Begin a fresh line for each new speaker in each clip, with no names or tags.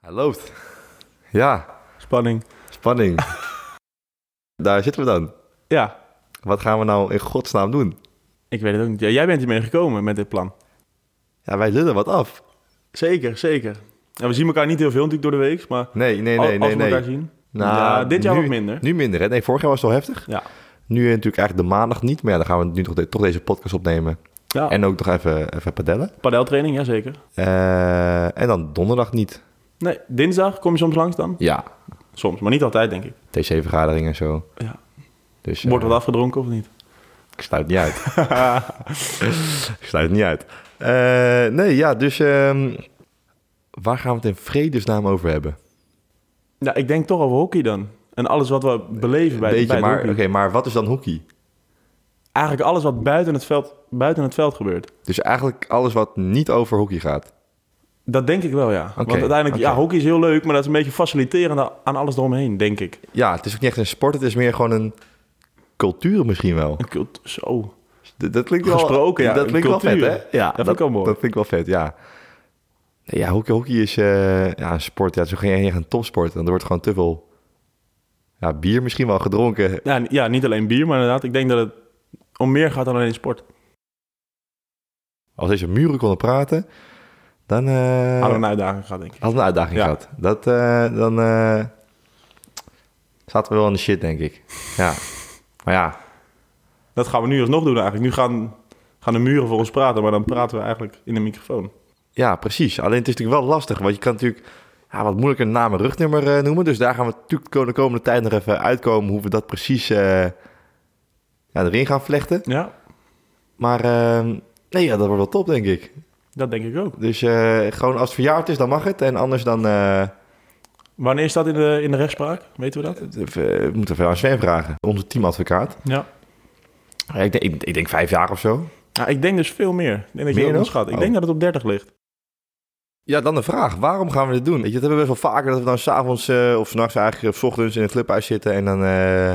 Hij loopt. Ja,
Spanning.
spanning. Daar zitten we dan.
Ja,
Wat gaan we nou in godsnaam doen?
ik weet het ook niet. Ja, jij bent hiermee gekomen met dit plan.
Ja, wij lullen wat af.
Zeker, zeker. Ja, we zien elkaar niet heel veel natuurlijk door de week, maar
Nee, nee,
al-
nee,
Oh, als
nee.
we elkaar
nee.
zien.
Nou,
ja, dit jaar
nu-
ook minder.
Nu minder, hè? Nee, vorig jaar was het wel heftig.
Ja.
Nu eh, natuurlijk eigenlijk de maandag niet, maar ja, dan gaan we nu toch, de- toch deze podcast opnemen.
ja. En
En ook nog even, even padellen.
padeltraining, ja zeker.
Eh, en dan donderdag niet.
Nee, dinsdag kom je soms langs dan?
Ja,
Soms, maar niet altijd denk ik.
TC-vergadering en zo.
Ja.
Dus, eh,
Wordt wat afgedronken of niet?
Ik sluit niet uit. ik sluit niet uit. Eh, nee, ja, dus ehm, waar gaan we het in vredesnaam over hebben?
Ja, ik denk toch over hockey dan. En alles wat we beleven bij,
Beetje,
bij het
maar,
hockey.
oké, maar wat is dan hockey?
Eigenlijk alles wat buiten het, veld, buiten het veld gebeurt.
Dus eigenlijk alles wat niet over hockey gaat.
Dat denk ik wel, ja. Want
Oké,
uiteindelijk, ja,
oké.
hockey is heel leuk, maar dat is een beetje faciliterend aan alles eromheen, denk ik.
Ja, het is ook niet echt een sport, het is meer gewoon een cultuur misschien wel.
Een cult, zo.
D- dat klinkt wel
Gesproken, ja,
Dat
een
klinkt
cultuur.
wel vet, hè? Ja,
Dat vind ik wel mooi.
Dat vind ik wel vet, ja. Nee, ja, hockey, hockey is eh, ja, een sport. Ja, het is ook geen echt een topsport. Dan wordt gewoon te veel ja, bier misschien wel gedronken
Ja, n- ja, niet alleen bier, maar inderdaad, ik denk dat het om meer gaat dan alleen sport.
Als deze muren konden praten, dan eh
Hadden
hadden
we een uitdaging gehad, denk ik.
we een uitdaging
Ja.
gehad. Dat, eh, dan eh, zaten we wel in de shit, denk ik. Ja. Maar ja,
Dat gaan we nu alsnog doen eigenlijk. Nu gaan, gaan de muren voor ons praten, maar dan praten we eigenlijk in de microfoon.
ja, precies. Alleen het is natuurlijk wel lastig, want je kan natuurlijk ja, wat moeilijker naam en rugnummer eh, noemen. Dus daar gaan we natuurlijk de komende tijd nog even uitkomen hoe we dat precies eh, ja, erin gaan vlechten.
Ja,
Maar eh, nee, ja, dat wordt wel top, denk ik.
dat denk ik ook.
Dus eh, gewoon als het verjaard is, dan mag het. En anders dan eh,
Wanneer staat in de, in de rechtspraak? Weten we dat?
we moeten we aan Sven vragen. Onze teamadvocaat.
Ja.
Ja, ik, denk, ik, ik denk vijf jaar of zo.
Nou, ik denk dus veel meer. Ik
Meer
denk dat je dat
nog?
onderschat. Ik
Oh.
denk dat het op 30 ligt.
Ja, dan de vraag. Waarom gaan we dit doen? Weet je, dat hebben we best wel vaker. Dat we dan s'avonds eh of s'nachts eigenlijk of 's ochtends in een clubhuis zitten. En dan... eh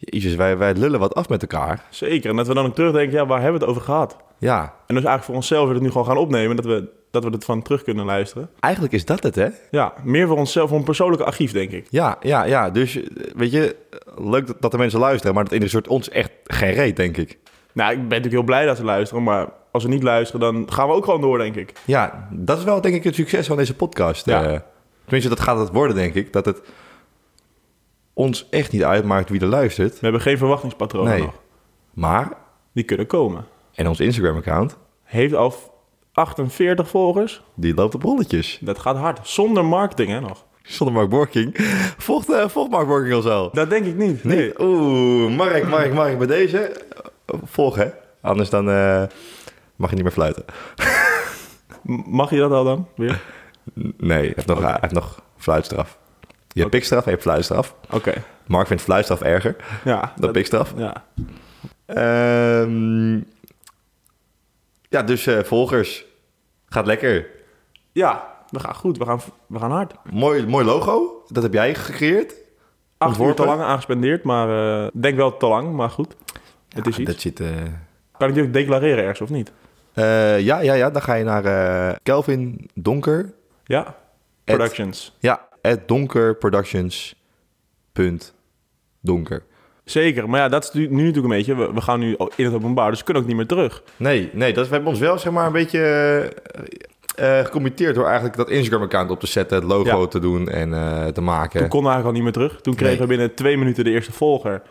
jezus, wij, wij lullen wat af met elkaar.
Zeker. En dat we dan ook terugdenken, ja, waar hebben we het over gehad?
Ja,
En dus eigenlijk voor onszelf weer het nu gewoon gaan opnemen, dat we, dat we het van terug kunnen luisteren.
eigenlijk is dat het, hè?
Ja, meer voor onszelf, voor een persoonlijke archief, denk ik.
Ja, ja, ja. Dus, eh, weet je, leuk dat, dat de mensen luisteren. Maar dat interesseert ons echt geen reet, denk ik.
Nou, ik ben natuurlijk heel blij dat ze luisteren, maar als ze niet luisteren, dan gaan we ook gewoon door, denk ik.
Ja, dat is wel denk ik het succes van deze podcast.
Ja.
eh. tenminste, dat gaat het worden, denk ik. Dat het ons echt niet uitmaakt wie er luistert.
We hebben geen verwachtingspatronen
Nee.
nog.
Maar,
Die kunnen komen.
en ons Instagram-account...
Heeft al 48 volgers.
Die loopt op rolletjes.
Dat gaat hard. Zonder marketing, hè, nog.
Zonder Mark Borking. Volgt, eh, volgt Mark Borking ons al?
Dat denk ik niet.
Nee. Oeh, Mark, Mark, Mark, bij deze. eh, Volg hè. Anders dan eh, mag je niet meer fluiten.
M- Mag je dat al dan? Weer?
Nee, hij heeft nog, hij heeft nog fluitstraf. Je hebt
Oké.
pikstraf, je hebt fluitstraf.
Oké.
Mark vindt fluitstraf erger
Ja.
dan pikstraf.
ja.
Ehm, ja, dus eh, volgers. Gaat lekker.
ja, we gaan goed. We gaan, we gaan hard.
Mooi, mooi logo. Dat heb jij gecreëerd.
Acht uur
Ontworpen.
te lang aangespendeerd, maar eh, denk wel te lang, maar goed. het is
Ja,
iets.
Dat zit... eh,
Kan ik die ook declareren ergens of niet?
Eh, ja, ja, ja. Dan ga je naar eh, Kelvin Donker.
Ja.
Ed.
Productions.
Ja, at donkerproductions.donker.
Zeker, maar ja, dat is nu nu natuurlijk een beetje. We, we gaan nu in het openbaar, dus we kunnen ook niet meer terug.
Nee, nee dat, we hebben ons wel zeg maar een beetje eh, eh, gecommitteerd door eigenlijk dat Instagram-account op te zetten, het logo
Ja.
te doen en eh, te maken.
Toen konden we eigenlijk al niet meer terug. Toen kregen
Nee.
we binnen twee minuten de eerste volger.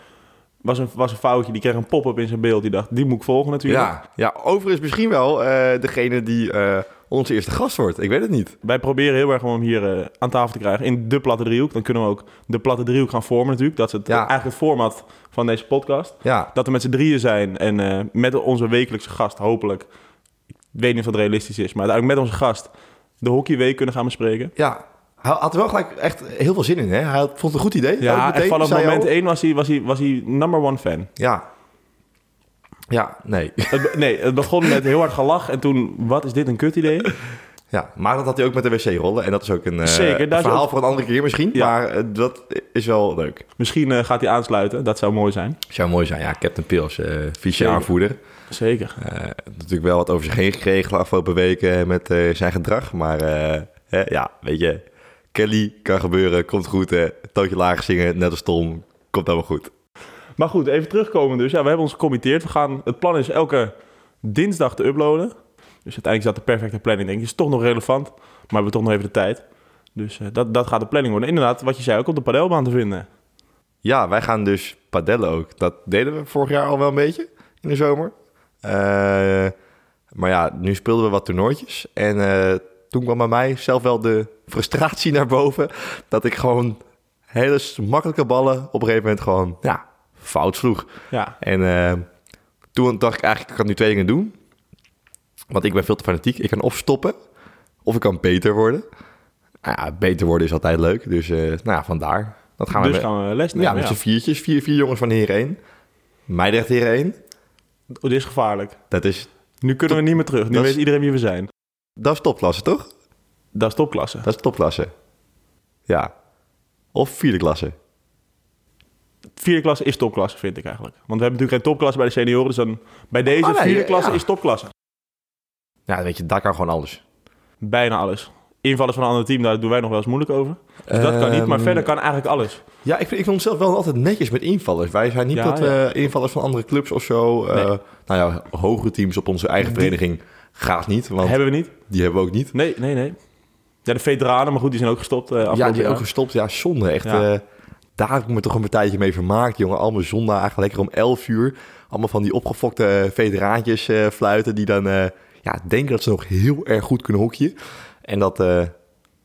Was een, was een foutje, die kreeg een pop-up in zijn beeld. Die dacht, die moet ik volgen natuurlijk.
ja, ja, overigens misschien wel eh, degene die eh, onze eerste gast wordt. Ik weet het niet.
Wij proberen heel erg om hem hier eh, aan tafel te krijgen in de platte driehoek. Dan kunnen we ook de platte driehoek gaan vormen natuurlijk. Dat is het,
Ja.
eigenlijk het format van deze podcast.
Ja,
Dat we met z'n drieën zijn en eh, met onze wekelijkse gast hopelijk... Ik weet niet of dat realistisch is, maar uiteindelijk met onze gast... de hockeyweek kunnen gaan bespreken.
ja. Hij had er wel gelijk echt heel veel zin in, hè? Hij had- vond het een goed idee. Hij
Ja,
had
en vanaf
zei hij
moment e-
al-
één was hij, was, hij, was hij number one fan.
Ja. Ja, nee.
Het be- nee, het begon met heel hard gelach en toen, wat is dit een kut idee?
Ja, maar dat had hij ook met de wc-rollen. En dat is ook een eh,
Zeker, daar is
verhaal
ook-
voor een andere keer misschien.
Ja.
Maar eh, dat is wel leuk.
Misschien eh, gaat hij aansluiten, dat zou mooi zijn.
Zou mooi zijn. Ja, Captain Pils, eh vieze
Zeker.
aanvoerder.
Zeker.
Eh, natuurlijk wel wat over zich heen gekregen de afgelopen weken met eh, zijn gedrag. Maar eh, hè, ja, weet je, Kelly kan gebeuren, komt goed. eh, Tootje laag zingen, net als Tom, komt helemaal goed.
Maar goed, even terugkomen dus. Ja, we hebben ons gecommitteerd. We gaan, het plan is elke dinsdag te uploaden. Dus uiteindelijk is dat de perfecte planning, denk ik. Is toch nog relevant, maar we hebben toch nog even de tijd. Dus eh, dat, dat gaat de planning worden. Inderdaad, wat je zei, ook op de padelbaan te vinden.
Ja, wij gaan dus padellen ook. Dat deden we vorig jaar al wel een beetje in de zomer. Eh, maar ja, nu speelden we wat toernooitjes. En eh, toen kwam bij mij zelf wel de frustratie naar boven. Dat ik gewoon hele makkelijke ballen op een gegeven moment gewoon ja, fout sloeg.
Ja,
En eh, toen dacht ik eigenlijk, ik kan nu twee dingen doen. Want ik ben veel te fanatiek. Ik kan of stoppen, of ik kan beter worden. Nou ja, beter worden is altijd leuk. Dus eh, nou ja, vandaar. Dat gaan we
dus
we
gaan we les
ja,
nemen.
met
Ja,
z'n viertjes. Vier, vier jongens van Heer 1. Meidrecht Heer 1.
Oh, dit is gevaarlijk.
Dat is,
Nu kunnen we niet meer terug. Nu
Dat is-
weet iedereen wie we zijn.
dat is topklasse, toch?
Dat is topklasse.
Dat is topklasse. Ja. Of vierde klasse.
Vierde klasse is topklasse, vind ik eigenlijk. Want we hebben natuurlijk geen topklasse bij de senioren. Dus dan bij deze
Oh, nee,
vierde
ja,
klasse
ja.
is topklasse.
Ja, weet je, daar kan gewoon alles.
Bijna alles. Invallers van een ander team, daar doen wij nog wel eens moeilijk over. Dus dat kan niet, maar
Ehm,
verder kan eigenlijk alles.
Ja, ik, vind- ik vond het zelf wel altijd netjes met invallers. Wij zijn niet
Ja,
dat we
ja.
invallers van andere clubs of zo... eh,
Nee.
Nou ja, hogere teams op onze eigen
Die-
vereniging gaat niet. Want
Hebben we niet?
die hebben we ook niet.
Nee, nee, nee. Ja, de veteranen, maar goed, die zijn ook gestopt eh afgelopen
Ja, die
jaar.
ook gestopt. Ja, zonde. Echt,
Ja.
eh, daar heb ik me toch een partijtje mee vermaakt, jongen. Allemaal zondagen, lekker om 11 uur. Allemaal van die opgefokte veteraantjes eh, fluiten... die dan eh, ja, denken dat ze nog heel erg goed kunnen hokje. En dat eh,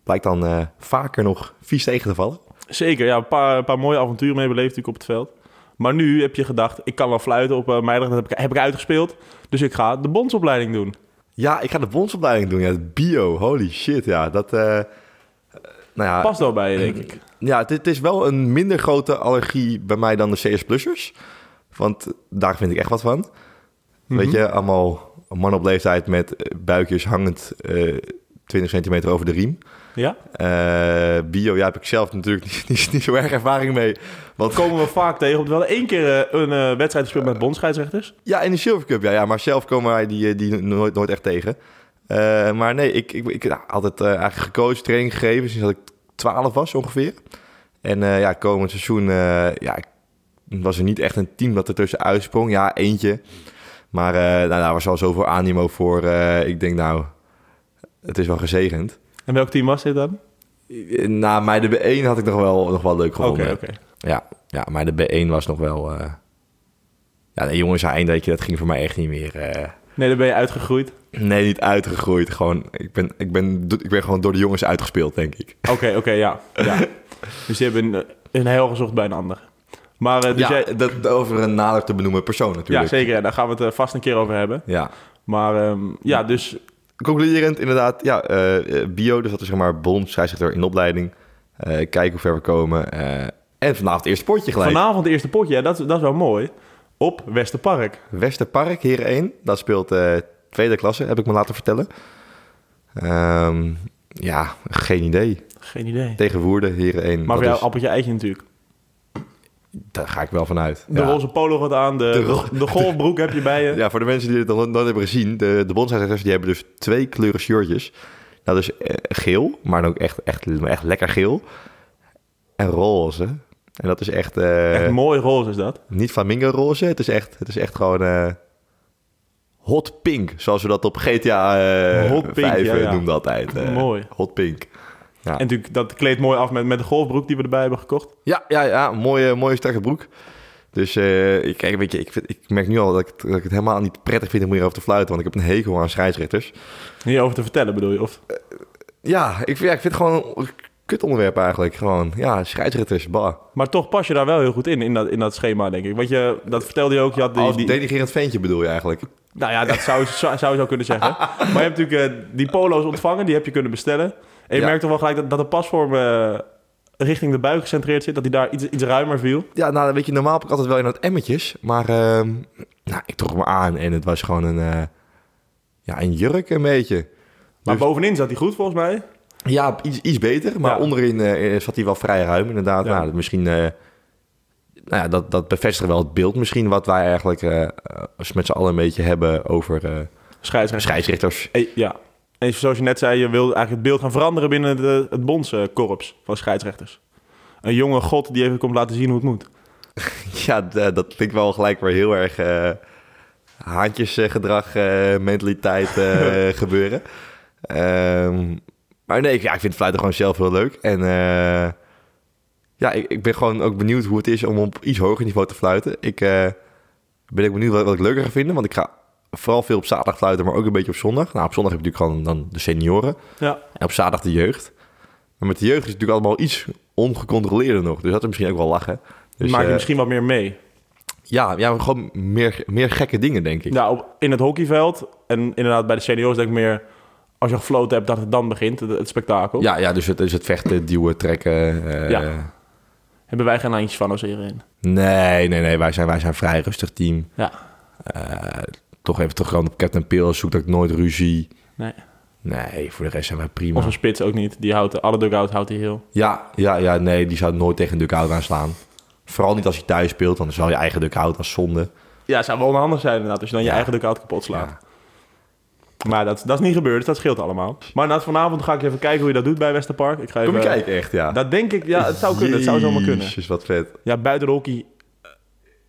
blijkt dan eh, vaker nog vies tegen te vallen.
Zeker, ja, een paar, een paar mooie avonturen mee beleefd natuurlijk op het veld. Maar nu heb je gedacht, ik kan wel fluiten op eh Meidrecht, dat heb ik, heb ik uitgespeeld. Dus ik ga de bondsopleiding doen.
Ja, ik ga de bondsopleiding doen. Ja, het bio. Holy shit, ja. Dat, eh, eh, nou ja,
Past wel bij je, denk ik.
ja het, het is wel een minder grote allergie bij mij dan de CS-plussers. Want daar vind ik echt wat van. Weet je, allemaal mannen op leeftijd met eh, buikjes hangend eh 20 centimeter over de riem.
Ja?
Eh, bio, ja, heb ik zelf natuurlijk niet, niet, niet zo erg ervaring mee. Want
Dat komen we vaak tegen. Want we hadden één keer eh, een eh, wedstrijd gespeeld met bondscheidsrechters.
Ja, in de Silver Cup, ja. ja maar zelf komen wij die, eh, die nooit, nooit echt tegen. Eh, maar nee, ik, ik, ik nou, altijd eh, eigenlijk gecoacht, training gegeven sinds dat ik 12 was ongeveer. En eh, ja, komend seizoen eh, ja, ik- was er niet echt een team dat er tussen uitsprong. Ja, eentje. Maar eh, nou, daar was al zoveel animo voor. eh, ik denk nou, het is wel gezegend.
En welk team was dit dan?
Eh, Na mij de B1 had ik nog wel, nog wel leuk
Oké,
gevonden.
oké.
Ja, ja, maar de B1 was nog wel... eh, Ja, de jongens aan dat je dat ging voor mij echt niet meer... eh,
Nee, daar ben je uitgegroeid.
Nee, niet uitgegroeid. Gewoon, ik ben, ik ben, ik ben gewoon door de jongens uitgespeeld, denk ik.
Oké, oké, ja. ja. Dus je hebt een, eh, een heel gezocht bij een ander. Maar eh,
ja,
dus jij...
dat, over een nader te benoemen persoon natuurlijk.
Ja, zeker. ja, Daar gaan we het eh, vast een keer over hebben.
Ja.
Maar ehm, ja, dus
Concluderend inderdaad, ja, eh, eh, bio, dus dat is zeg maar bond, scheidsrechter in opleiding. Eh, kijken hoe ver we komen. eh, en vanavond eerst potje gelijk.
vanavond het eerste potje. Ja, dat, dat is wel mooi. Op Westerpark.
Westerpark, Heren 1, dat speelt eh, tweede klasse, heb ik me laten vertellen. Ehm, ja, geen idee.
Geen idee.
Tegen Woerden, Heren 1.
Maar
dat
voor jou
is-
appeltje eitje natuurlijk.
daar ga ik wel van uit.
De
Ja.
roze polo gaat aan. De,
De
de,
ro-
golfbroek heb je bij je.
Ja, voor de mensen die het nog nooit hebben gezien, de, de bonsai-rechters die hebben dus twee kleuren shirtjes. Dat is eh, geel, maar dan ook echt, echt, echt lekker geel. En roze. En dat is echt, eh,
Echt mooi roze is dat.
niet flamingo roze, het is echt, het is echt gewoon eh, hot pink, zoals we dat op GTA eh
Hot pink,
5
ja,
eh,
ja.
noemden altijd. eh,
Mooi.
Hot pink. Ja.
En natuurlijk, dat kleedt mooi af met, met de golfbroek die we erbij hebben gekocht.
Ja, ja, ja, mooie, mooie strakke broek. Dus eh, ik, kijk, weet je, ik, vind- ik merk nu al dat ik, het- dat ik het helemaal niet prettig vind om hierover te fluiten, want ik heb een hekel aan scheidsrechters.
Niet over te vertellen bedoel je? Of,
Ja, ik, ja, ik vind het gewoon een kut onderwerp eigenlijk. Gewoon, ja, scheidsrechters, bah.
maar toch pas je daar wel heel goed in, in dat, in dat schema denk ik. Want je, dat vertelde je ook. Je had die,
Als
die-
denigrerend ventje bedoel je eigenlijk.
Nou ja, dat zou, zou, zou je zo kunnen zeggen. Maar je hebt natuurlijk eh, die polo's ontvangen, die heb je kunnen bestellen. En je
Ja.
merkt toch wel gelijk dat, dat de pasvorm eh, richting de buik gecentreerd zit. Dat die daar iets, iets ruimer viel.
Ja, nou, weet je, normaal heb ik altijd wel in het emmetjes. Maar, ehm, nou, ik trok me aan en het was gewoon een, eh, ja, een jurk een beetje.
Maar
Dus-
bovenin zat die goed volgens mij.
Ja, iets, iets beter, maar
Ja.
onderin eh, zat hij wel vrij ruim inderdaad.
Ja.
Nou, misschien, eh, nou ja, dat, dat bevestigt wel het beeld misschien wat wij eigenlijk eh, eh, met z'n allen een beetje hebben over eh
Scheidsrechter.
scheidsrechters.
Eh, ja. En zoals je net zei, je wil eigenlijk het beeld gaan veranderen binnen de, het bondskorps eh, van scheidsrechters. Een jonge god die even komt laten zien hoe het moet.
Ja, d- eh, dat klinkt wel gelijk weer heel erg eh haantjesgedrag, eh, mentaliteit eh, gebeuren. Ehm, maar nee, ik, ja, ik vind fluiten gewoon zelf heel leuk. En eh, ja, ik, ik ben gewoon ook benieuwd hoe het is om op iets hoger niveau te fluiten. Ik eh, ben ook benieuwd wat, wat ik leuker ga vinden, want ik ga vooral veel op zaterdag fluiten, maar ook een beetje op zondag. Nou, op zondag heb je natuurlijk gewoon dan de senioren
Ja.
en op zaterdag de jeugd. Maar met de jeugd is het natuurlijk allemaal iets ongecontroleerder nog, dus dat is misschien ook wel lachen. Dus,
Maak je
eh,
misschien wat meer mee.
ja, ja maar gewoon meer, meer gekke dingen, denk ik.
Ja, Nou, op, in het hockeyveld en inderdaad bij de seniors denk ik meer... als je gefloten hebt dat het dan begint, het, het spektakel.
Ja, ja dus, het, dus het vechten, duwen, trekken. eh,
Ja. Hebben wij geen handjes van als iedereen.
Nee, nee, nee. Wij zijn, wij zijn een vrij rustig team.
Ja.
Eh, toch even teruggaan op Captain Peel. Zoek dat ik nooit ruzie.
Nee.
Nee, voor de rest zijn wij prima.
Onze spits ook niet. Die houdt, alle dugout houdt hij heel.
Ja, ja, ja, nee. Die zou nooit tegen een dugout aanslaan. Vooral niet als je thuis speelt, want dan is wel je eigen dugout als zonde.
Ja, zou wel onhandig zijn inderdaad, als je dan je
Ja.
eigen dugout kapot slaat.
Ja.
Maar dat, dat is niet gebeurd, dus dat scheelt allemaal. Maar na vanavond ga ik even kijken hoe je dat doet bij Westerpark. Ik ga even,
Kom je kijken, echt, ja.
Dat denk ik, ja, het zou kunnen. Het zou zomaar kunnen.
Jezus, wat vet.
Ja, buiten de hockey eh,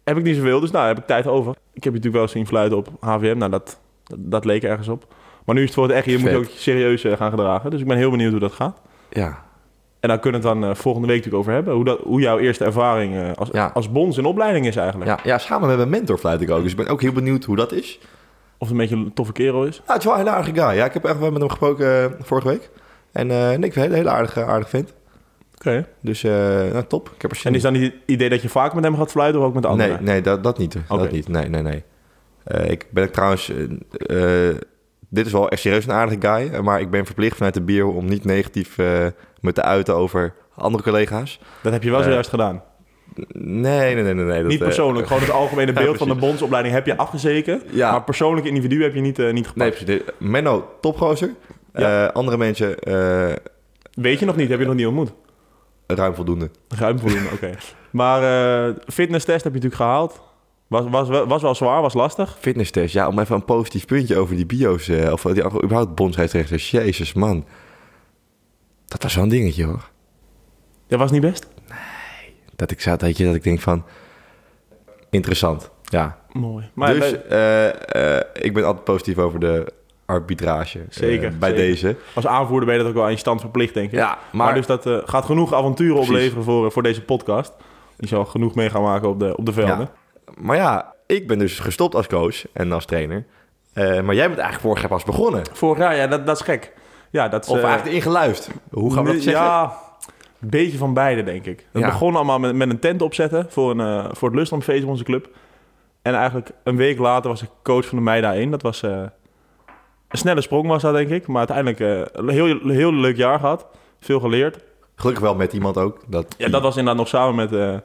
heb ik niet zoveel, dus nou heb ik tijd over. Ik heb je natuurlijk wel eens zien fluiten op HVM, nou dat, dat, dat leek ergens op. Maar nu is het voor het echt, je moet je ook
Vet.
serieus eh, gaan gedragen. Dus ik ben heel benieuwd hoe dat gaat.
Ja.
En daar kunnen we het dan eh, volgende week natuurlijk over hebben. Hoe, dat, hoe jouw eerste ervaring eh, als,
Ja.
als bonds in opleiding is eigenlijk.
Ja, ja, samen met mijn mentor fluit ik ook. Dus ik ben ook heel benieuwd hoe dat is.
Of het een beetje een toffe kerel is.
Nou, het is wel een hele aardige guy. Ja, ik heb echt wel met hem gesproken eh, vorige week. En eh, nee, ik vind het een hele aardige, aardig vent.
Oké.
Dus eh, nou, top. Ik heb er zin
En is
in.
dan het idee dat je vaak met hem gaat fluiten of ook met anderen?
Nee, nee dat, dat niet.
Oké.
Dat niet. Nee, nee, nee. Eh, ik ben ook trouwens... eh, eh, dit is wel echt serieus een aardige guy. eh, Maar ik ben verplicht vanuit de bio om niet negatief eh, me te uiten over andere collega's.
Dat heb je wel
Eh,
zojuist gedaan.
Nee, nee, nee, nee. nee dat,
niet
eh,
persoonlijk, gewoon het algemene
ja,
beeld van de
precies.
bondsopleiding heb je afgezeken.
ja,
Maar persoonlijk individu heb je niet, eh, niet
nee,
gepakt.
precies. Dit- Menno, topgozer.
Ja.
Eh, andere mensen, eh,
Weet je nog niet, heb je nog niet ontmoet.
ruim voldoende.
Ruim voldoende, oké. Maar eh fitness test heb je natuurlijk gehaald. Was, was, wel- was wel zwaar, was lastig.
Fitnesstest, ja, om even een positief puntje over die bio's, eh, of die, überhaupt bondsrechters. Jezus, man. Dat was wel een dingetje, hoor.
Dat was niet best.
Dat ik zat, weet je, dat ik denk van, interessant, ja.
Mooi. Maar
dus
wij-
eh, eh, ik ben altijd positief over de arbitrage. eh,
Zeker,
bij
zeker.
deze.
als aanvoerder ben je dat ook wel aan je stand verplicht, denk ik.
Ja,
maar,
maar,
dus dat eh, gaat genoeg avonturen
Precies.
opleveren voor, eh, voor deze podcast. Die zal genoeg mee gaan maken op de, op de velden.
Ja. maar ja, ik ben dus gestopt als coach en als trainer. Eh, maar jij bent eigenlijk vorig jaar pas begonnen.
Vorig jaar, ja, dat, dat is gek. Ja, dat is,
Of
Dus, eh,
eigenlijk ingeluist. Hoe gaan we dat
Nee,
zeggen?
Ja, een beetje van beide, denk ik. Het
Ja.
begon allemaal met, met een tent opzetten voor, een, eh, voor het Lustlandfeest van onze club. En eigenlijk een week later was ik coach van de meiden daarin. Dat was eh, een snelle sprong was dat, denk ik. Maar uiteindelijk eh, een heel, heel leuk jaar gehad. Veel geleerd.
Gelukkig wel met iemand ook. Dat,
Ja, dat was inderdaad nog samen met, eh,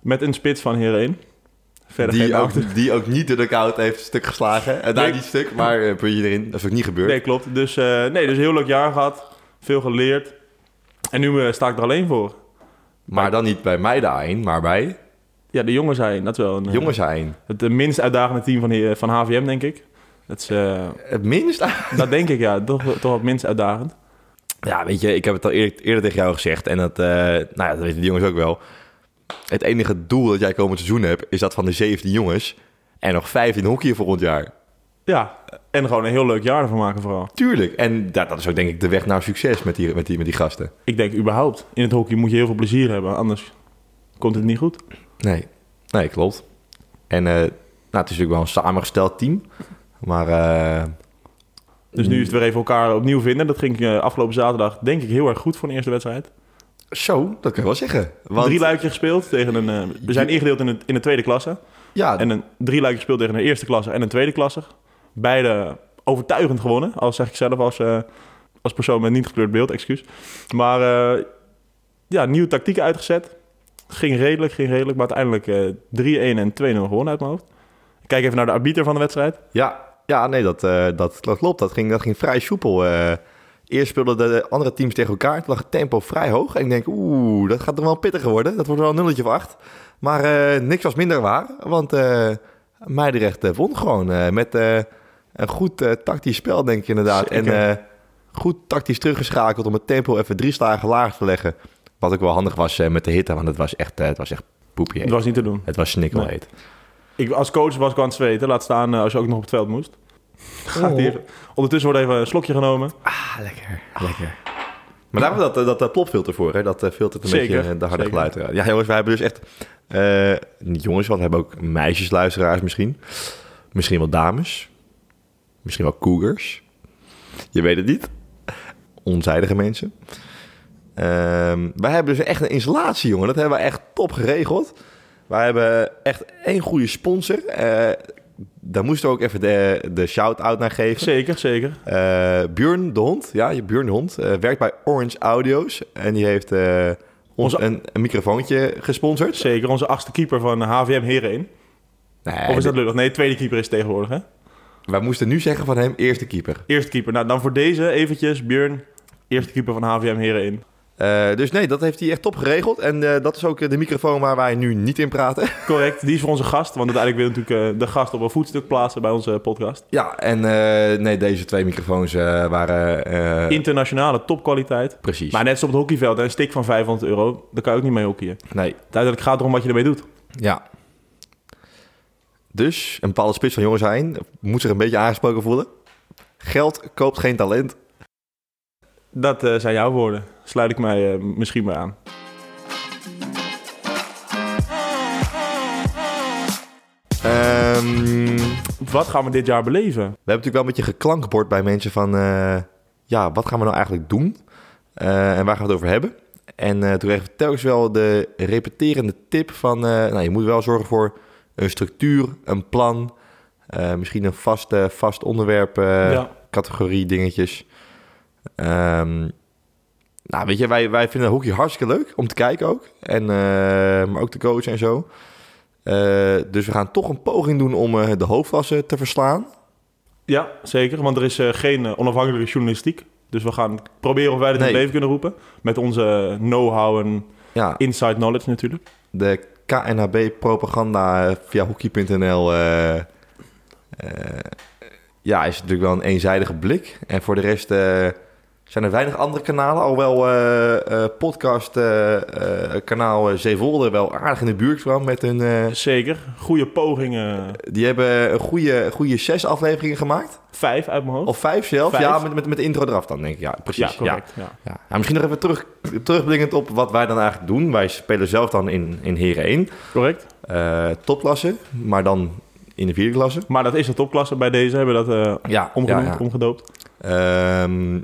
met een spits van Heerenveen. Verder geen
die,
naam.
ook, die ook niet de dugout heeft stuk geslagen. En daar
Nee.
niet stuk, maar eh, puntje erin. Dat is ook niet gebeurd.
Nee, klopt. Dus, eh, nee, dus een heel leuk jaar gehad. Veel geleerd. En nu eh, sta ik er alleen voor.
Maar dan niet bij mij daarin, maar bij
Ja, de jongens zijn. Dat is wel een... eh,
jongens daarin.
Het eh, minst uitdagende team van, die, eh, van HVM, denk ik. Dat, is, eh,
Het minst.
dat denk ik, ja. Toch, toch wel het minst uitdagend.
Ja, weet je, ik heb het al eer- eerder tegen jou gezegd. En dat, eh, nou ja, dat weten de jongens ook wel. Het enige doel dat jij komend seizoen hebt, is dat van de 17 jongens. En nog 15 hockey volgend jaar.
Ja, en gewoon een heel leuk jaar ervan maken vooral.
Tuurlijk. En ja, dat is ook denk ik de weg naar succes met die, met die, met die gasten.
Ik denk überhaupt, in het hockey moet je heel veel plezier hebben. Anders komt het niet goed.
Nee, nee, klopt. En eh, nou, het is natuurlijk wel een samengesteld team. Maar eh,
Dus nu is het weer even elkaar opnieuw vinden. Dat ging eh, afgelopen zaterdag denk ik heel erg goed voor een eerste wedstrijd.
zo, dat kan je wel zeggen. Want,
Drie luikje gespeeld tegen een... eh, we zijn ingedeeld in, een- in de tweede klasse.
ja,
En een drie luikje gespeeld tegen een eerste klasse en een tweede klasse. Beide overtuigend gewonnen. Al zeg ik zelf als, eh, als persoon met niet gekleurd beeld, excuus. Maar eh, ja, nieuwe tactieken uitgezet. Ging redelijk, ging redelijk. Maar uiteindelijk eh 3-1 en 2-0 gewonnen uit mijn hoofd. Ik kijk even naar de arbiter van de wedstrijd.
Ja, ja nee, dat, eh, dat, dat klopt. Dat ging, dat ging vrij soepel. eh. eerst speelden de andere teams tegen elkaar. Toen lag het tempo vrij hoog. En ik denk, oeh, dat gaat nog wel pittiger worden. Dat wordt wel een nulletje of acht. Maar eh, niks was minder waar. Want eh Meidrecht eh, won gewoon eh, met eh, Een goed eh, tactisch spel, denk ik inderdaad.
Zeker.
En eh, goed tactisch teruggeschakeld om het tempo even drie slagen laag te leggen. Wat ook wel handig was eh, met de hitte, want het was echt, eh, het was echt poepje heet.
Het was niet te doen.
Het was snikkelheet.
Ik, als coach was ik aan het zweten. Laat staan eh, als je ook nog op het veld moest. Gaat hier. Ondertussen wordt even een slokje genomen.
Ah, lekker. Lekker. Ah. Maar daar hebben we dat, eh, dat, eh, plopfilter voor, hè? Dat eh, filtert een
Zeker,
beetje eh, de harde
zeker.
geluiden. uit. Ja, jongens, wij hebben dus echt... eh, niet jongens, want we hebben ook meisjesluisteraars misschien. Misschien wel dames. Misschien wel cougars. Je weet het niet. Onzijdige mensen. Ehm, wij hebben dus echt een installatie, jongen. Dat hebben we echt top geregeld. Wij hebben echt één goede sponsor. Eh, daar moesten we ook even de, de shout-out naar geven.
Zeker, zeker.
Eh Björn de Hond, ja, je Björn de Hond, eh, werkt bij Orange Audio's. En die heeft eh, ons
Onze-
een, een microfoontje gesponsord.
Zeker. Onze achtste keeper van eh, HVM Heren.
Nee,
Of is dat lullig? Nee, tweede keeper is het tegenwoordig, hè?
Wij moesten nu zeggen van hem, eerste keeper.
Eerste keeper. Nou, dan voor deze eventjes, Björn. Eerste keeper van HVM Heren.
Eh, dus nee, dat heeft hij echt top geregeld. En eh, dat is ook eh, de microfoon waar wij nu niet in praten.
Correct. Die is voor onze gast. Want uiteindelijk wil natuurlijk eh, de gast op een voetstuk plaatsen bij onze podcast.
ja, en eh, nee, deze twee microfoons eh, waren... eh,
Internationale topkwaliteit.
Precies.
Maar net als op het hockeyveld, hè, een stick van 500 euro, daar kan je ook niet mee hockeyen.
Nee,
Uiteindelijk gaat het erom wat je ermee doet.
ja. Dus, een bepaalde spits van jongens zijn moet zich een beetje aangesproken voelen. Geld koopt geen talent.
Dat eh, zijn jouw woorden. Sluit ik mij eh, misschien maar aan.
Ehm
Wat gaan we dit jaar
We
beleven?
hebben natuurlijk wel een beetje geklankbord bij mensen van... eh, ja, wat gaan we nou eigenlijk doen? Eh, en waar gaan we het over hebben? En eh, toen kregen we telkens wel de repeterende tip van... eh, nou, je moet wel zorgen voor een structuur, een plan... eh, misschien een vast, eh, vast onderwerp, eh,
Ja.
categorie dingetjes. Ehm, nou, weet je, wij, wij vinden hockey hartstikke leuk om te kijken ook. En, eh, maar ook de coach en zo. Eh, dus we gaan toch een poging doen om eh, de hoofdwassen te verslaan.
Ja, zeker. Want er is eh, geen eh, onafhankelijke journalistiek. Dus we gaan proberen of wij dit in
Nee.
het leven kunnen roepen. Met onze know-how en
Ja,
inside knowledge natuurlijk.
de KNHB-propaganda eh, via hockey.nl... eh, eh, ja, is natuurlijk wel een eenzijdige blik. En voor de rest eh, zijn er weinig andere kanalen. Alhoewel eh, eh, podcast eh, eh, kanaal eh, Zeewolde wel aardig in de buurt kwam met hun... eh,
Zeker. Goede pogingen.
die hebben een goede, goede zes afleveringen gemaakt.
Vijf uit mijn hoofd.
Of vijf zelf.
Vijf?
Ja, met, met, met de intro eraf dan, denk ik. Ja, precies.
ja, correct. Ja.
Ja, ja, misschien nog even terug, terugblikkend op wat wij dan eigenlijk doen. Wij spelen zelf dan in, in Heren 1.
Correct.
eh topklasse, maar dan in de vierde klasse.
Maar dat is de topklasse. Bij deze hebben we dat eh
Ja,
omgenoemd,
ja, ja.
omgedoopt.
Ehm,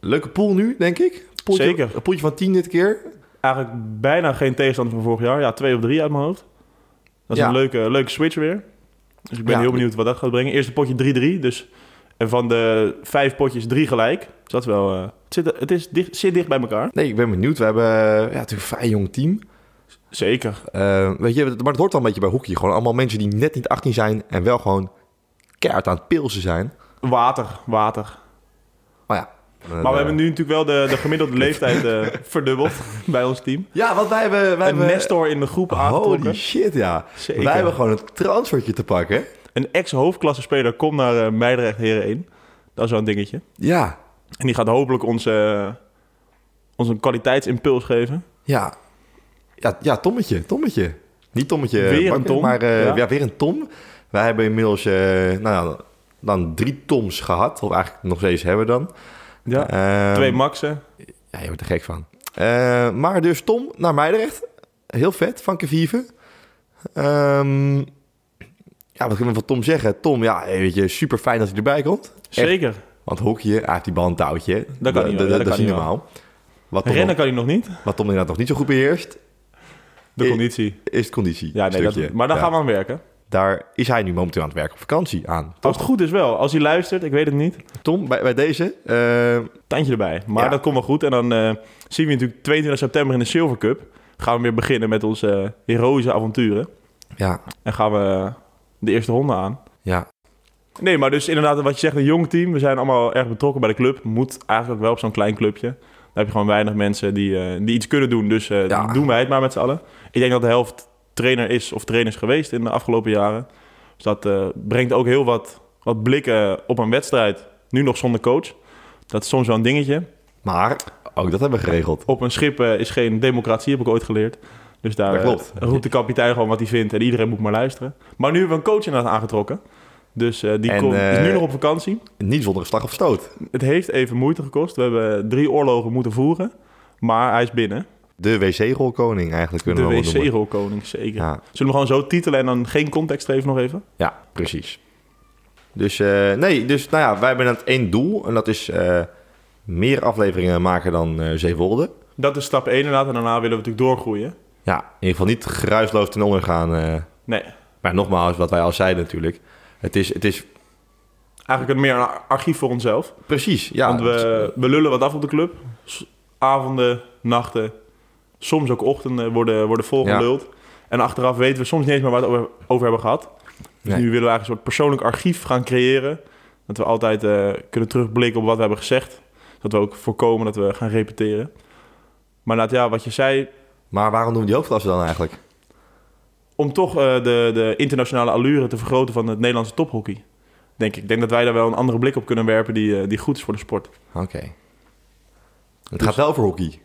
leuke pool nu, denk ik. Poeltje,
Zeker.
Een poeltje van 10 dit keer.
Eigenlijk bijna geen tegenstander van vorig jaar. Ja, twee of drie uit mijn hoofd. Dat is
Ja.
een leuke, leuke switch weer. Dus ik ben
Ja.
heel benieuwd wat dat gaat brengen. Eerste potje 3-3. Dus en van de vijf potjes drie gelijk. Dus dat is wel... eh, het zit, het is dicht, zit dicht bij elkaar.
Nee, ik ben benieuwd. We hebben eh, ja, natuurlijk een vrij jong team.
Zeker.
Eh, weet je, maar het hoort wel een beetje bij hockey. Gewoon allemaal mensen die net niet 18 zijn en wel gewoon keihard aan het pilsen zijn.
Water, water.
Maar ja. eh,
Maar we hebben nu natuurlijk wel de, de gemiddelde leeftijd eh, verdubbeld bij ons team.
Ja, want wij hebben... Wij
Een
hebben...
Nestor in de groep
Holy
aangetrokken.
shit, ja.
Zeker.
Wij hebben gewoon een transfertje te pakken.
Een ex-hoofdklasse speler komt naar eh, Meidrecht Heren 1. Dat is wel een dingetje.
Ja,
En die gaat hopelijk ons, eh, ons een kwaliteitsimpuls geven.
Ja. Ja, ja Tommetje, Tommetje. Niet Tommetje
Weer een
Bakker,
Tom,
maar eh, ja.
ja.
weer een Tom. Wij hebben inmiddels eh, nou, ja, dan drie Toms gehad. Of eigenlijk nog steeds hebben we dan.
Ja.
Ehm,
Twee maxen.
Ja, je wordt er gek van. Eh, maar dus Tom naar Meidrecht. Heel vet, van Kevieven. Ehm, ja, wat kunnen we van Tom zeggen? Tom, ja, eh, weet je, super fijn dat hij erbij komt.
Zeker.
Want hoekje, hij heeft die bal een touwtje.
Dat kan niet, hoor. Dat
dat is
kan
niet
niet, hoor.
normaal. Wat Tom,
Rennen kan hij nog niet.
wat Tom inderdaad nog niet zo goed beheerst,
De
Ik-
conditie.
is het conditie.
Ja, nee, dat, maar daar
gaan we.
gaan we aan werken.
Daar is hij nu momenteel aan het werk op vakantie aan.
Als het goed is wel. Als hij luistert, ik weet het niet.
Tom, bij, bij deze. eh,
Tandje erbij. Maar
Ja.
dat komt wel goed. En dan eh, zien we je natuurlijk 22 september in de Silver Cup. Gaan we weer beginnen met onze eh, heroïsche avonturen.
ja,
En gaan we eh, de eerste ronde aan.
ja.
Nee, maar dus inderdaad, wat je zegt, een jong team. We zijn allemaal erg betrokken bij de club. Moet eigenlijk ook wel op zo'n klein clubje. Daar heb je gewoon weinig mensen die, eh, die iets kunnen doen. Dus eh,
Ja.
doen wij het maar met z'n allen. Ik denk dat de helft trainer is of trainers geweest in de afgelopen jaren. Dus dat eh, brengt ook heel wat wat blikken op een wedstrijd, nu nog zonder coach. Dat is soms wel een dingetje.
Maar ook dat hebben we geregeld.
Op een schip eh, is geen democratie, heb ik ooit geleerd. Dus daar
Dat
eh,
klopt.
roept de kapitein gewoon wat hij vindt en iedereen moet maar luisteren. Maar nu hebben we een coach inderdaad aangetrokken. Dus eh, die
En,
komt, is nu
eh,
nog op vakantie.
Niet zonder slag of stoot.
Het heeft even moeite gekost. We hebben drie oorlogen moeten voeren. Maar hij is binnen.
De wc-rolkoning eigenlijk
De
kunnen we wel noemen.
wc-rolkoning, zeker.
Ja,
Zullen we gewoon zo titelen en dan geen context geven nog even?
ja, precies. Dus eh, nee, dus nou ja, wij hebben net één doel. En dat is eh, meer afleveringen maken dan eh Zeewolde.
Dat is stap 1 inderdaad. En daarna willen we natuurlijk doorgroeien.
Ja, in ieder geval niet geruisloos ten onder gaan. eh.
Nee,
maar nogmaals, wat wij al zeiden natuurlijk. Het is, het is
eigenlijk een meer een archief voor onszelf.
precies, ja.
Want we, we lullen wat af op de club. S- Avonden, nachten, soms ook ochtenden worden, worden volgeluld. En achteraf weten we soms niet eens meer waar we het over- over hebben gehad. Dus
Nee.
nu willen we eigenlijk een soort persoonlijk archief gaan creëren. Dat we altijd eh, kunnen terugblikken op wat we hebben gezegd. Dat we ook voorkomen dat we gaan repeteren. Maar laat ja, wat je zei,
Maar waarom doen we die hoofdklasse dan eigenlijk?
om toch eh, de, de internationale allure te vergroten van het Nederlandse tophockey. Denk ik. ik denk dat wij daar wel een andere blik op kunnen werpen die, eh, die goed is voor de sport.
Oké. Het gaat wel over hockey.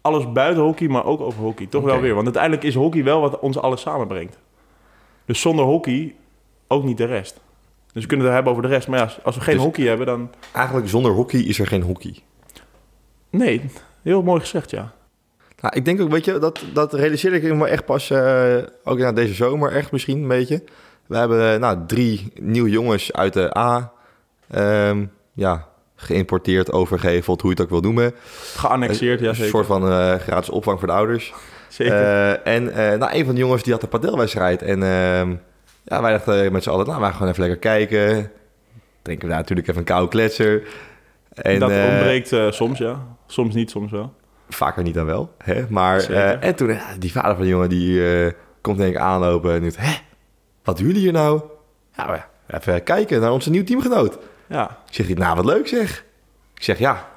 alles buiten hockey, maar ook over hockey. Toch wel
Oké.
weer. Want uiteindelijk is hockey wel wat ons alles samenbrengt. Dus zonder hockey ook niet de rest. Dus we kunnen het hebben over de rest. Maar ja, als we geen
Dus-
hockey hebben, dan...
Eigenlijk zonder hockey is er geen hockey.
Nee, heel mooi gezegd, ja.
Nou, ik denk ook, weet je, dat, dat realiseer ik me echt pas, eh, ook ja, deze zomer echt misschien een beetje. We hebben eh, nou, drie nieuwe jongens uit de A ehm, ja, geïmporteerd, overgeheveld, hoe je het ook wil noemen.
Geannexeerd, ja
Een
zeker.
soort van eh, gratis opvang voor de ouders.
zeker.
Eh, en eh, nou, een van de jongens die had een padelwedstrijd. En ehm, ja, wij dachten met z'n allen, nou, we gaan gewoon even lekker kijken. Denken we daar natuurlijk even een koude kletser. En,
dat
eh,
ontbreekt eh, soms, ja. Soms niet, soms wel.
Vaker niet dan wel. Hè? Maar,
Zeker.
eh, en toen, eh, die vader van de jongen, die eh, komt denk ik aanlopen. En denkt, hè, wat doen jullie hier nou? Ja, maar ja, even kijken naar onze nieuwe teamgenoot.
Ja,
Ik zeg, nou, wat leuk zeg. Ik zeg, ja,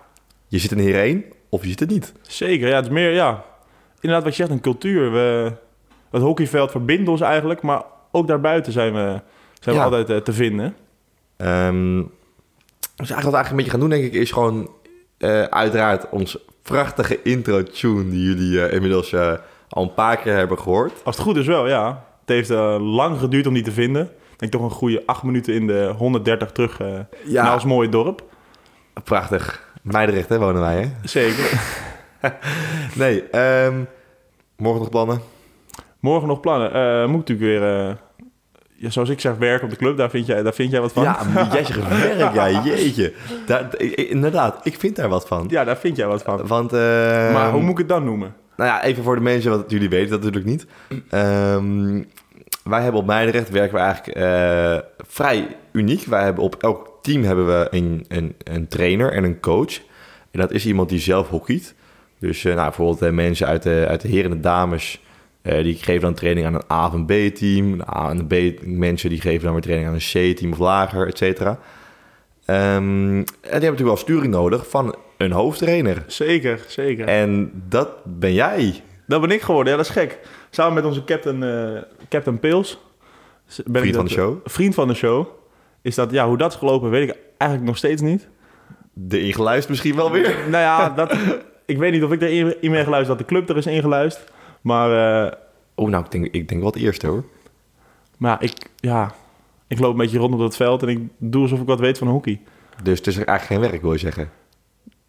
je zit er hier heen of je zit er niet.
zeker. Ja, het is meer, ja... Inderdaad, wat je zegt, een cultuur. We, het hockeyveld verbindt ons eigenlijk, maar ook daarbuiten zijn we, zijn
Ja.
we altijd eh, te vinden.
Ehm, dus eigenlijk wat we eigenlijk een beetje gaan doen, denk ik, is gewoon eh, uiteraard ons prachtige intro-tune die jullie eh, inmiddels eh, al een paar keer hebben gehoord.
Als het goed is wel, ja. Het heeft eh, lang geduurd om die te vinden. Ik denk toch een goede acht minuten in de 130 terug eh,
Ja.
naar ons mooie dorp.
Nou, Prachtig. Meidrecht, hè, wonen wij, hè?
Zeker.
Nee, ehm, morgen nog plannen?
Morgen nog plannen. Eh, moet natuurlijk weer, eh, ja, zoals ik zeg, werken op de club. Daar vind jij, daar vind jij wat van.
Ja, jij zegt werk, ja, jeetje. Daar, ik- ik- inderdaad, ik vind daar wat van.
Ja, daar vind jij wat van.
Want, eh,
maar hoe moet ik het dan noemen?
nou ja, even voor de mensen, want jullie weten dat natuurlijk niet. Ehm, wij hebben op Meidrecht werken we eigenlijk eh, vrij uniek. Wij hebben op elk team hebben we een, een, een trainer en een coach. En dat is iemand die zelf hockeyt. Dus eh, nou, bijvoorbeeld eh, mensen uit de, uit de heren en de dames... eh, die geven dan training aan een A- of een B-team. Een A- en een B-mensen die geven dan weer training aan een C-team of lager, et cetera. Ehm, en die hebben natuurlijk wel sturing nodig van een hoofdtrainer.
Zeker, zeker.
En dat ben jij.
Dat Eh. ben ik geworden. Ja, dat is gek. Samen met onze captain, eh captain Pils. z- Ben
Vriend van
ik dat- eh,
de show.
Vriend van de show. Is dat, ja, hoe dat is gelopen weet ik eigenlijk nog steeds niet.
De ingeluisterd misschien wel weer.
Nou ja, dat, ik weet niet of ik er in in ben geluisterd, dat de club er is ingeluisterd. Maar, eh,
Oh, nou, ik denk, ik denk wel het eerste hoor.
maar ik, ja, ik loop een beetje rond op dat veld en ik doe alsof ik wat weet van hockey.
Dus het is eigenlijk geen werk, wil je zeggen.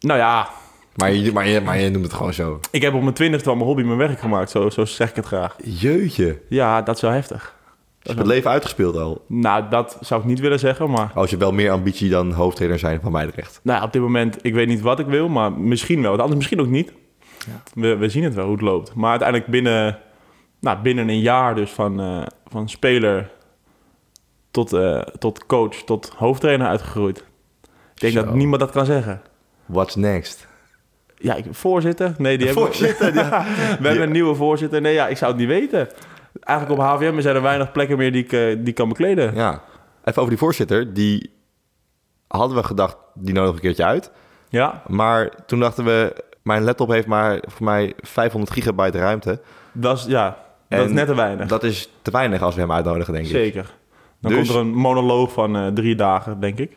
Nou ja,
Maar je, maar je, maar je noemt het gewoon zo.
ik heb op mijn twintigste al mijn hobby mijn werk gemaakt, zo, zo zeg ik het graag.
Jeetje.
Ja, dat is wel heftig.
Is het leven uitgespeeld al?
Nou, dat zou ik niet willen zeggen, maar
Als je wel meer ambitie dan hoofdtrainer zijn van Meidrecht.
nou, ja, op dit moment, ik weet niet wat ik wil, maar misschien wel. Want Anders misschien ook niet.
Ja.
We, we zien het wel hoe het loopt. Maar uiteindelijk binnen, nou, binnen een jaar dus van, eh, van speler tot, eh, tot coach, tot hoofdtrainer uitgegroeid. Ik denk
Zo.
dat niemand dat kan zeggen.
What's next?
Ja, ik, voorzitter? Nee, die hebben
Voorzitter, ja.
we hebben een nieuwe voorzitter. Nee, ja, ik zou het niet weten. Eigenlijk op HVM zijn er weinig plekken meer die ik eh, die kan bekleden.
ja. Even over die voorzitter. Die hadden we gedacht, die nodig een keertje uit.
Ja,
Maar toen dachten we, mijn laptop heeft maar voor mij 500 gigabyte ruimte.
dat is, ja, dat is
En
net te weinig.
Dat is te weinig als we hem uitnodigen, denk ik.
Zeker. Dan
Dus-
komt er een monoloog van eh, drie dagen, denk ik.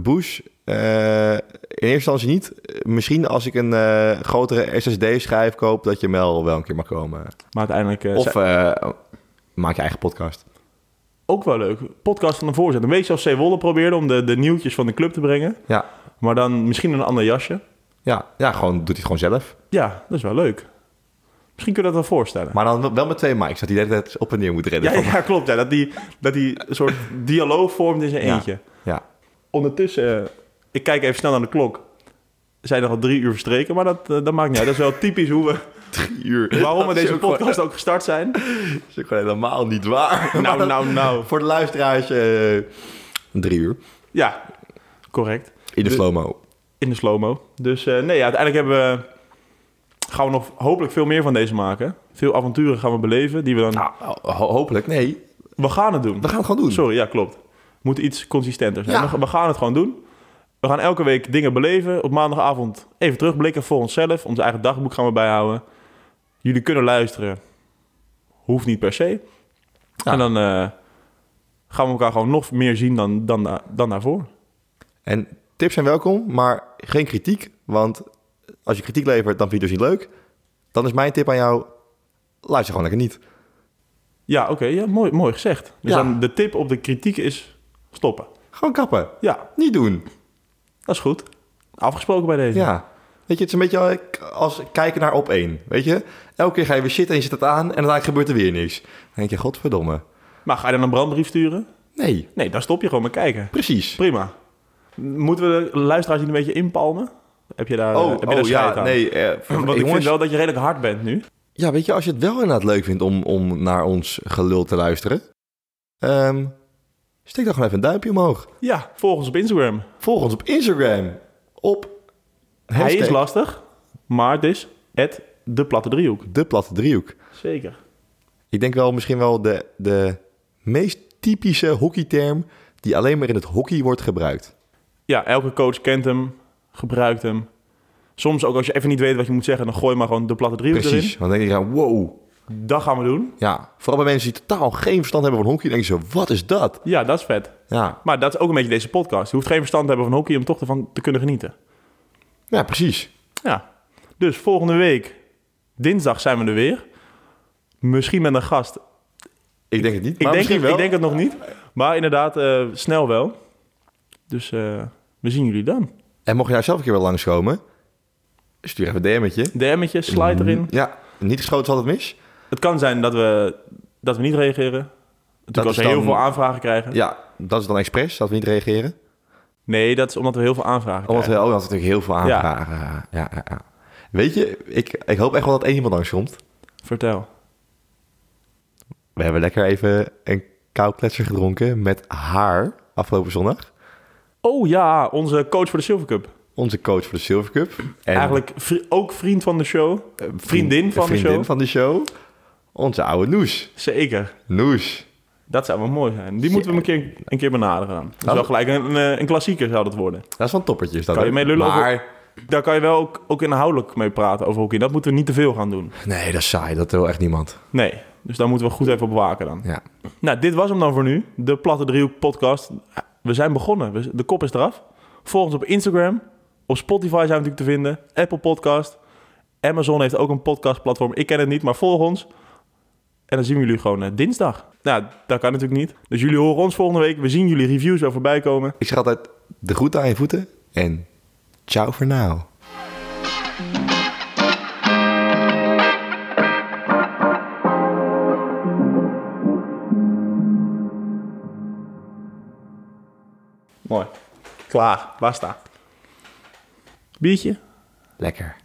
Bush, eh, in eerste instantie niet. Misschien als ik een eh, grotere SSD-schijf koop, dat je Mel wel een keer mag komen.
Maar uiteindelijk eh,
Of
zijn-
eh, maak je eigen podcast.
ook wel leuk. Podcast van de voorzet. Een beetje als C. Wolle probeerde om de, de nieuwtjes van de club te brengen.
Ja,
Maar dan misschien een ander jasje.
ja, ja gewoon, doet hij het gewoon zelf.
Ja, dat is wel leuk. Misschien kun je dat wel voorstellen.
Maar dan wel met twee mics, dat hij de hele tijd op en neer moet rennen.
Ja, ja, klopt. Ja, dat, die, dat die een soort dialoog vormt in zijn
Ja.
eentje.
Ja.
Ondertussen, eh, ik kijk even snel naar de klok. Er zijn nog al drie uur verstreken, maar dat, eh, dat maakt niet uit. Dat is wel typisch hoe we,
Drie uur.
waarom we
Dat is
deze
ook Nou, gewoon-
podcast ook gestart zijn.
Dat is ook gewoon helemaal niet waar. Maar
Nou,
dat-
nou, nou.
Voor de luisteraars, eh, drie uur.
Ja, correct.
In de
Dus-
slow-mo.
In de slow-mo. Dus eh, nee, ja, uiteindelijk hebben we, gaan we nog hopelijk veel meer van deze maken. Veel avonturen gaan we beleven die we dan...
Nou, ho- hopelijk. Nee,
We gaan het doen.
we gaan het gewoon doen.
Sorry, ja, klopt. Moet iets consistenter zijn.
Ja.
We- We gaan het gewoon doen. We gaan elke week dingen beleven. Op maandagavond even terugblikken voor onszelf. Ons eigen dagboek gaan we bijhouden. Jullie kunnen luisteren. Hoeft niet per se.
Ja.
En dan eh, gaan we elkaar gewoon nog meer zien dan, dan, da- dan daarvoor.
En tips zijn welkom, maar geen kritiek. Want als je kritiek levert, dan vind je het dus niet leuk. Dan is mijn tip aan jou, luister gewoon lekker niet.
Ja, oké. ja, mooi, mooi gezegd. Dus
Ja.
dan de tip op de kritiek is stoppen.
Gewoon kappen.
Ja,
Niet doen.
dat is goed. Afgesproken bij deze.
Ja. Weet je, het is een beetje als kijken naar op één. Weet je, elke keer ga je weer zitten en je zet het aan en uiteindelijk gebeurt er weer niks. Dan denk je, godverdomme.
Maar ga je dan een brandbrief sturen?
Nee,
Nee, dan stop je gewoon met kijken.
precies.
Prima. Moeten we de luisteraars hier een beetje inpalmen? Heb je daar,
Oh,
Eh, heb je daar
oh
scheid
ja,
aan?
nee. eh,
Want ik
jongens,
vind wel dat je redelijk hard bent nu.
Ja, weet je, als je het wel inderdaad leuk vindt om, om naar ons gelul te luisteren, ehm, steek dan gewoon even een duimpje omhoog.
Ja, volg ons op Instagram.
Volg ons op Instagram. Op
Hij is
hashtag
lastig, maar het is het de platte driehoek.
de platte driehoek.
Zeker.
Ik denk wel misschien wel de, de meest typische hockeyterm die alleen maar in het hockey wordt gebruikt.
Ja, elke coach kent hem, gebruikt hem. Soms ook als je even niet weet wat je moet zeggen, dan gooi maar gewoon de platte driehoek
Precies. Want dan denk je, ja, wow.
erin. Dat gaan we doen.
Ja, vooral bij mensen die totaal geen verstand hebben van hockey, denken ze, wat is dat?
Ja, dat is vet.
Ja,
Maar dat is ook een beetje deze podcast. Je hoeft geen verstand te hebben van hockey om toch ervan te kunnen genieten.
ja precies.
Ja. Dus volgende week, dinsdag, zijn we er weer. Misschien met een gast.
Ik denk het niet,
Ik
maar
denk,
misschien
het,
wel.
ik denk het nog niet. Maar inderdaad, eh, snel wel. Dus eh, we zien jullie dan.
En mocht je daar zelf een keer wel langskomen, stuur even een DM'tje.
DM'tje, slide
Mhm.
erin.
Ja, niet geschoten is altijd mis.
Het kan zijn dat we, dat we niet reageren.
Dat
Natuurlijk als we
is dan-
heel veel aanvragen krijgen.
Ja, dat is dan expres, dat we niet reageren.
Nee, dat is omdat we heel veel aanvragen
Omdat
krijgen.
we ook natuurlijk heel veel aanvragen. Ja. Ja, ja, Weet je, ik, ik hoop echt wel dat één iemand langskomt.
Vertel.
We hebben lekker even een koukletser gedronken met haar afgelopen zondag.
Oh ja, onze coach voor de Silver Cup.
Onze coach voor de Silver Cup. En
Eigenlijk vri- ook vriend van de show.
eh, vriend-
vriendin van de
vriendin
show.
van de show. Onze oude Noes.
Zeker.
Noes.
Dat zou wel mooi zijn. Die moeten we een keer, een keer benaderen dan. Dat is wel gelijk een, eh, een, een klassieker zou dat worden.
Dat is wel een toppertje. Is dat
Kan je
ook.
mee lullen
Maar,
Daar kan je wel ook, ook inhoudelijk mee praten over hockey. Dat moeten we niet te veel gaan doen.
nee, dat is saai. Dat wil echt niemand.
Nee, dus daar moeten we goed even op waken dan.
Ja.
Nou, dit was hem dan voor nu. De Platte Driehoek podcast. We zijn begonnen. We- De kop is eraf. Volg ons op Instagram. Op Spotify zijn we natuurlijk te vinden. Apple Podcast. Amazon heeft ook een podcastplatform. Ik ken het niet, maar volg ons. En dan zien we jullie gewoon eh, dinsdag. Nou, dat kan natuurlijk niet. Dus jullie horen ons volgende week. We zien jullie reviews wel voorbij komen.
Ik zeg altijd de groeten aan je voeten. En ciao voor now.
Mooi. Klaar. Basta. Biertje?
Lekker.